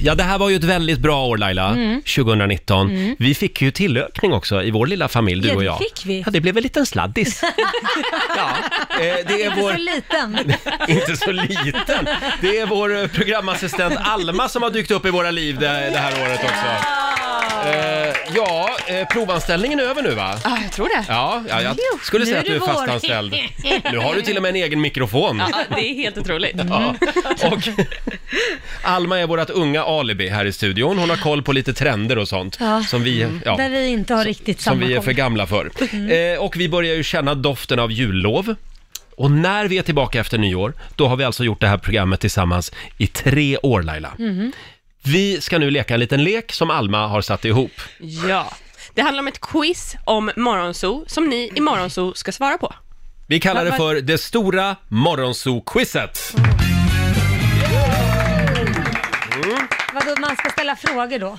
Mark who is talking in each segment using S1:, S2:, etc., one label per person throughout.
S1: ja det här var ju ett väldigt bra år Laila,
S2: Mm.
S1: 2019. Vi fick ju tillökning också i vår lilla familj, du
S2: Ja,
S1: och
S2: det
S1: jag.
S2: fick vi.
S1: Ja, det blev en liten sladdis. ja, eh, det är
S2: Inte
S1: vår...
S2: så liten.
S1: Inte så liten. Det är vår eh, programassistent Alma som har dykt upp i våra liv det, det här året också. Eh, ja, eh, provanställningen är över nu va?
S3: Ja, jag tror det.
S1: Ja, ja jag skulle
S2: nu
S1: säga
S2: är
S1: att du är
S2: det vår.
S1: fastanställd. Nu har du till och med en egen mikrofon.
S3: Ja, det är helt otroligt.
S1: Ja.
S2: Mm.
S1: Och Alma är vårt unga alibi här i studion. Hon har koll på lite trender och sånt
S2: Ja. Mm.
S1: som vi, ja,
S2: Där vi inte har riktigt
S1: som
S2: samma
S1: vi är för
S2: koll. Mm.
S1: gamla för. Eh, och vi börjar ju känna doften av jullov. Och när vi är tillbaka efter nyår, då har vi alltså gjort det här programmet tillsammans i tre år Laila.
S2: Mm-hmm.
S1: Vi ska nu leka en liten lek som Alma har satt ihop.
S3: Ja. Det handlar om ett quiz om morgonso som ni i morgonso ska svara på.
S1: Vi kallar det
S3: Vad-
S1: för det stora morgonzoo-quizet.
S2: Vadå, man ska ställa frågor då?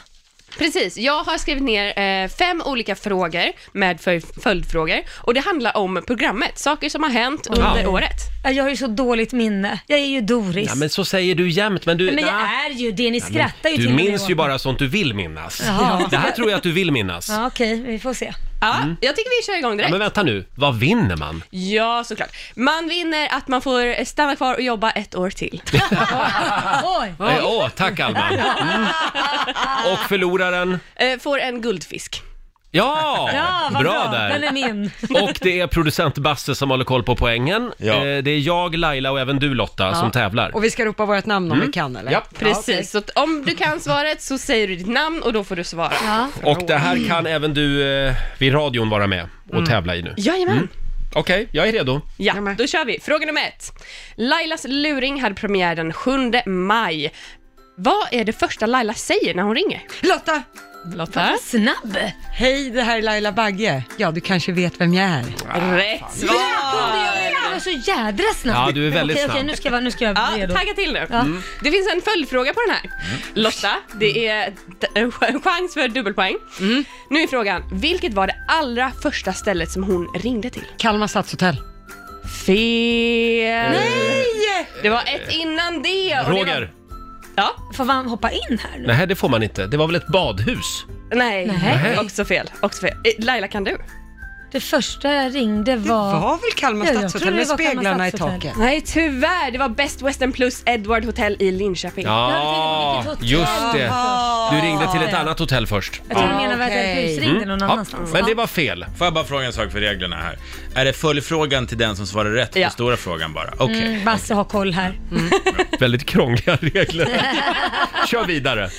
S3: Precis, jag har skrivit ner eh, fem olika frågor med för- följdfrågor och det handlar om programmet, saker som har hänt under året.
S2: Ja, Jag har ju så dåligt minne. Jag är ju Doris.
S1: Ja,
S2: men,
S1: men så säger du jämt, men du...
S2: jag
S1: Nej.
S2: är ju det. Ni skrattar ju
S1: Du
S2: till och med
S1: minns
S2: åt
S1: ju
S2: mig.
S1: bara sånt du vill minnas.
S2: Jaha.
S1: Det här tror jag att du vill minnas.
S2: Ja, okej, vi får se.
S3: Ja, jag tycker vi kör
S1: Mm.
S3: igång
S1: Ja,
S3: direkt.
S1: men vänta nu, vad vinner man?
S3: Ja, såklart. Man vinner att man får stanna kvar och jobba ett år till.
S2: Oj!
S1: Eh, Åh, tack Alma! Mm. Och förloraren?
S3: Eh, får en guldfisk.
S1: Ja!
S2: Ja, vad bra, Den är
S1: där!
S2: min.
S1: Och det är producent Basse som håller koll på poängen.
S4: Ja.
S1: Eh, Det är jag, Laila och även du Lotta som tävlar.
S5: Och vi ska ropa vårt namn om vi kan eller?
S1: Mm. Ja.
S3: Precis, så att om du kan svaret så säger du ditt namn och då får du svara.
S2: Ja.
S1: Och det här kan även du eh, vid radion vara med och
S2: Mm.
S1: tävla i nu.
S3: Jajamän.
S1: Okej, jag är redo.
S5: Jag
S3: Ja,
S5: med.
S3: då kör vi. Fråga nummer ett. Lailas luring hade premiär den 7 maj. Vad är det första Laila säger när hon ringer?
S5: Lotta!
S3: Lotta?
S2: Snabb!
S5: Hej, det här är Laila Bagge. Ja, du kanske vet vem jag är.
S3: Rätt svar!
S2: Jag var så jädra snabb.
S1: Ja, du är väldigt
S2: okej, Okej,
S1: snabb.
S2: nu ska jag, vara- nu ska jag vara
S3: Ja,
S2: redo.
S3: tagga till nu. Det finns en följdfråga på den här. Lotta, det är t- en ch- en chans för dubbelpoäng. Nu är frågan, vilket var det allra första stället som hon ringde till?
S5: Kalmar stadshotell.
S3: Fel! Det var ett innan det. och det
S1: Roger!
S3: Var, ja,
S2: Får man hoppa in här nu?
S1: Nej, det får man inte. Det var väl ett badhus?
S3: nej.
S2: Nej.
S3: Också fel. Också fel. Eh, Laila, kan du?
S2: Det första jag ringde var...
S5: Var väl Kalmar
S2: Ja, jag
S5: stadshotell
S2: trodde
S5: med
S2: det var Kalmar
S5: speglarna i
S2: stadshotell.
S5: taket?
S3: Nej, tyvärr. Det var Best Western plus Edward Hotel i Linköping.
S1: Ja,
S2: Jag tänkte på
S1: Ah,
S2: vilket
S1: just
S2: hotell.
S1: det. Du ringde till ett annat hotell först.
S2: Jag tror du
S5: Ah,
S2: menar att jag
S5: okej.
S2: husringde någon
S1: Mm. Ja,
S2: annanstans.
S1: men det var fel.
S4: Får jag bara fråga en sak för reglerna här? Är det följdfrågan till den som svarar rätt
S3: Ja.
S4: på stora frågan bara? Okej.
S2: Mm, Basse har koll här.
S1: Väldigt krångliga regler. Kör vidare.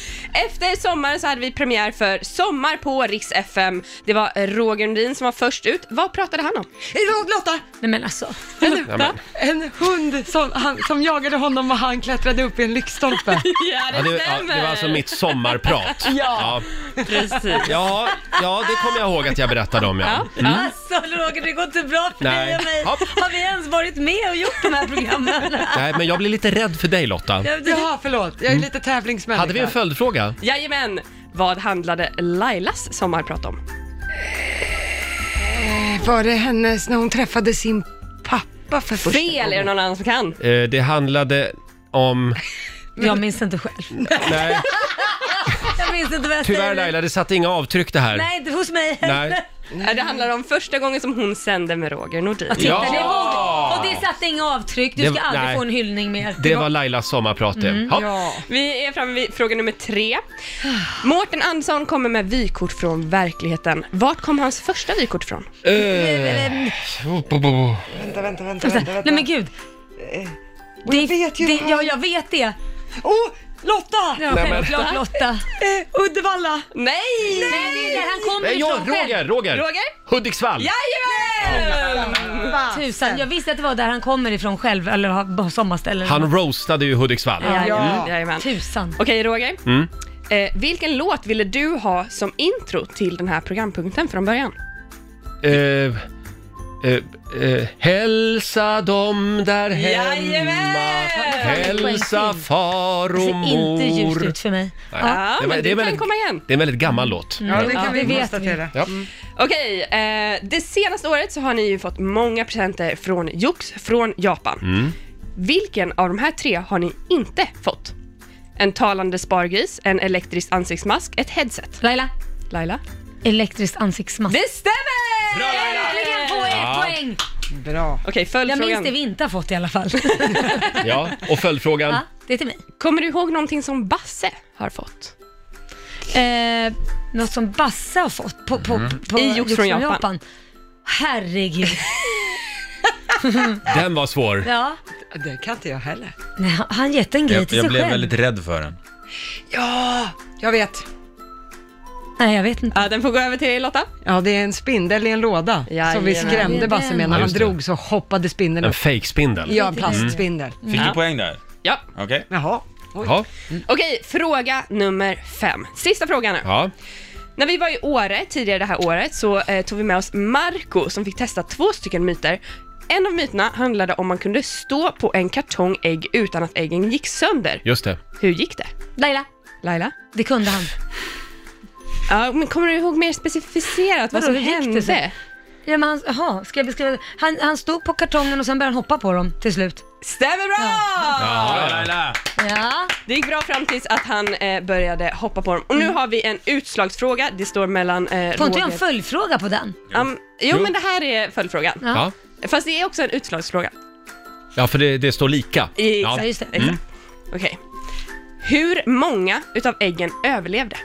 S3: Efter sommaren så hade vi premiär för Sommar på Riks FM. Det var Roger Nordin som var först ut. Vad pratade han om?
S5: Eh, Lotta!
S2: Nej men alltså.
S1: Mm.
S5: En, en hund som, han, som jagade honom och han klättrade upp i en lyktstolpe.
S1: Ja, det, ja, det var alltså mitt sommarprat. Ja,
S3: Precis.
S1: ja, ja det kommer jag ihåg att jag berättade om. Ja. Mm.
S2: Alltså Roger, det går inte bra för
S1: Nej.
S2: dig och mig.
S1: Hopp.
S2: Har vi ens varit med och gjort de här programmen?
S1: Nej, men jag blir lite rädd för dig Lotta.
S5: Jaha, förlåt. Jag är lite tävlingsmänniska.
S1: Hade vi en följdfråga?
S3: Jajamän. Vad handlade Lailas sommarprat om?
S5: Var det hennes när hon träffade sin pappa för första
S3: Fel är det någon annan som kan.
S1: Eh, det handlade om...
S2: Jag minns inte själv.
S1: Nej,
S2: Jag minns inte vad jag
S1: tyvärr
S2: säger.
S1: Laila, det satte inga avtryck det här.
S2: Nej, inte hos mig
S1: Nej.
S3: Eh, Det handlar om första gången som hon sände med Roger Nordin.
S1: Ja.
S2: Men det var- Och det satte inga avtryck. Du
S1: Det-
S2: ska aldrig
S1: nej.
S2: få en hyllning mer.
S1: Det var Lailas sommarprat det. Mm, Ja.
S5: Ja.
S3: Vi är framme vid fråga nummer tre. Mårten Andersson kommer med vykort från verkligheten. Vart kom hans första vykort från?
S1: Eh.
S2: Eller-
S5: Vänta, vänta, vänta, vänta. vänta.
S2: Nej men gud.
S5: Och jag vet ju
S2: det,
S5: vad han-
S2: ja, jag vet det.
S5: Oh, Lotta!
S2: Ja, självklart Lotta.
S5: Eh, Uddevalla.
S3: Nej!
S2: Nej, det är där han kommer
S1: Nej, Eh, ja,
S2: ifrån själv.
S1: Roger, Roger!
S3: Roger?
S1: Hudiksvall!
S3: Jajamän!
S2: Tusan, jag visste att det var där han kommer ifrån själv, eller har sommarställe. eller
S1: Han roastade ju Hudiksvall.
S2: något. ja.
S5: Ja.
S3: Jajamän.
S2: Tusan.
S3: Okej Roger. Eh, vilken låt ville du ha som intro till den här programpunkten från början?
S1: Eh, eh, eh, hälsa dem där hemma. Hälsa far
S2: Det
S1: och
S2: ser inte ljust
S1: mor.
S2: ut för mig. Ja.
S3: Ja,
S1: Det var-
S3: men
S1: det är
S3: du kan
S1: väldigt-
S3: komma igen.
S1: Det är en väldigt gammal låt.
S5: Ja, det kan
S2: Ja,
S5: vi
S2: det vet
S5: konstatera.
S1: Ja.
S3: Okej, eh, det senaste året så har ni ju fått många presenter från Jox från Japan. Vilken av de här tre har ni inte fått? en talande spargris, en elektrisk ansiktsmask, ett headset.
S2: Laila,
S3: Laila?
S2: elektriskt ansiktsmask.
S3: Det stämmer!
S4: Bra Laila!
S2: Äntligen får jag ett poäng!
S5: Bra.
S3: Okej,
S2: Jag minns
S3: följdfrågan.
S2: det vi inte har fått i alla fall. Mm.
S1: Ja, och följdfrågan.
S2: ja, det är till mig.
S3: Kommer du ihåg någonting som Basse har fått?
S2: Eh, något som Basse har fått på, på, på
S3: I Jox från Japan.
S2: Herregud.
S1: Den var svår.
S2: Ja.
S5: Det kan inte jag heller.
S2: Nej, han gett en grej
S4: Jag,
S2: till
S4: jag
S2: sig
S4: blev
S2: själv.
S4: väldigt rädd för den.
S5: Ja, jag vet.
S2: Nej, jag vet inte.
S3: Ja, den får gå över till dig Lotta.
S5: Ja, det är en spindel i en låda som vi
S3: Jajamän.
S2: Det är
S5: skrämde Basse
S2: den.
S5: med. När
S1: Ja,
S5: han
S1: just det.
S5: drog så hoppade spindeln
S1: En
S5: upp.
S1: fejkspindel.
S5: Ja, en plastspindel.
S4: Fick du poäng där?
S3: Ja.
S4: Okej.
S5: Jaha. Oj.
S1: Ja,
S3: Okej, fråga nummer fem. Sista frågan nu.
S1: ja.
S3: När vi var i Åre tidigare det här året så eh, tog vi med oss Marco som fick testa två stycken myter. En av myterna handlade om man kunde stå på en kartong ägg utan att äggen gick sönder.
S1: just det.
S3: Hur gick det?
S2: Laila,
S3: Laila?
S2: det kunde han.
S3: Ja, men kommer du ihåg mer specificerat vad
S2: Vadå,
S3: som
S2: hur gick det
S3: hände?
S2: sen? Ja, men han, aha, ska jag beskriva? det? Han, han stod på kartongen och sen började han hoppa på dem till slut.
S3: Stämmer bra!
S4: Bra Laila!
S2: Ja.
S3: Det gick bra fram tills att han eh, började hoppa på dem. Och nu har vi en utslagsfråga. Det står mellan eh,
S2: Mm. Får inte jag en
S3: Roger-
S2: följdfråga på den?
S3: Am- jo, men det här är följdfrågan.
S2: Ja.
S1: Ja,
S3: Fast det är också en utslagsfråga.
S1: ja för det, det står lika.
S3: Exakt.
S2: Ja, just det.
S3: Exakt. Okej. Hur många utav äggen överlevde?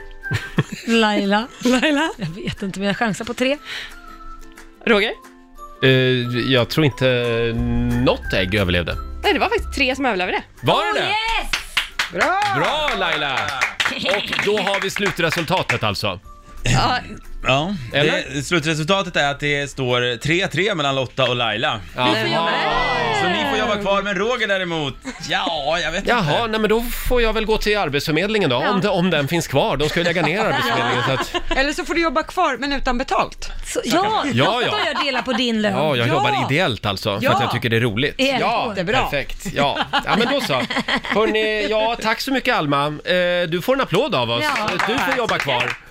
S2: Laila.
S3: Laila?
S2: Jag vet inte, men jag chansar på tre.
S3: Roger?
S1: Eh, jag tror inte något ägg överlevde.
S3: Nej, det var faktiskt tre som överlevde.
S1: Var det det?
S2: Oh, Yes!
S1: Bra Laila! Och då har vi slutresultatet alltså.
S3: Ja,
S4: Ja,
S1: Eller?
S4: det, slutresultatet är att det står 3-3 mellan Lotta och Laila. Så ni får jobba kvar, men Roger däremot, ja, jag vet
S1: Jaha,
S4: inte.
S1: nej men då får jag väl gå till Arbetsförmedlingen då, om, de, om den finns kvar. De ska ju lägga ner Arbetsförmedlingen så att,
S5: Eller så får du jobba kvar men utan betalt.
S2: Så, ja,
S1: Ja,
S2: ja,
S1: ja.
S2: ja. jag delar på din lön.
S1: ja, jag
S5: Ja.
S1: jobbar ideellt alltså, för
S5: Ja.
S1: att jag tycker det är roligt.
S2: Är det
S1: Ja,
S2: så?
S5: Bra.
S1: perfekt. Ja. ja, men då så. Hörrni, ja, tack så mycket Alma. Eh, du får en applåd av oss.
S2: Ja.
S1: Du får jobba kvar.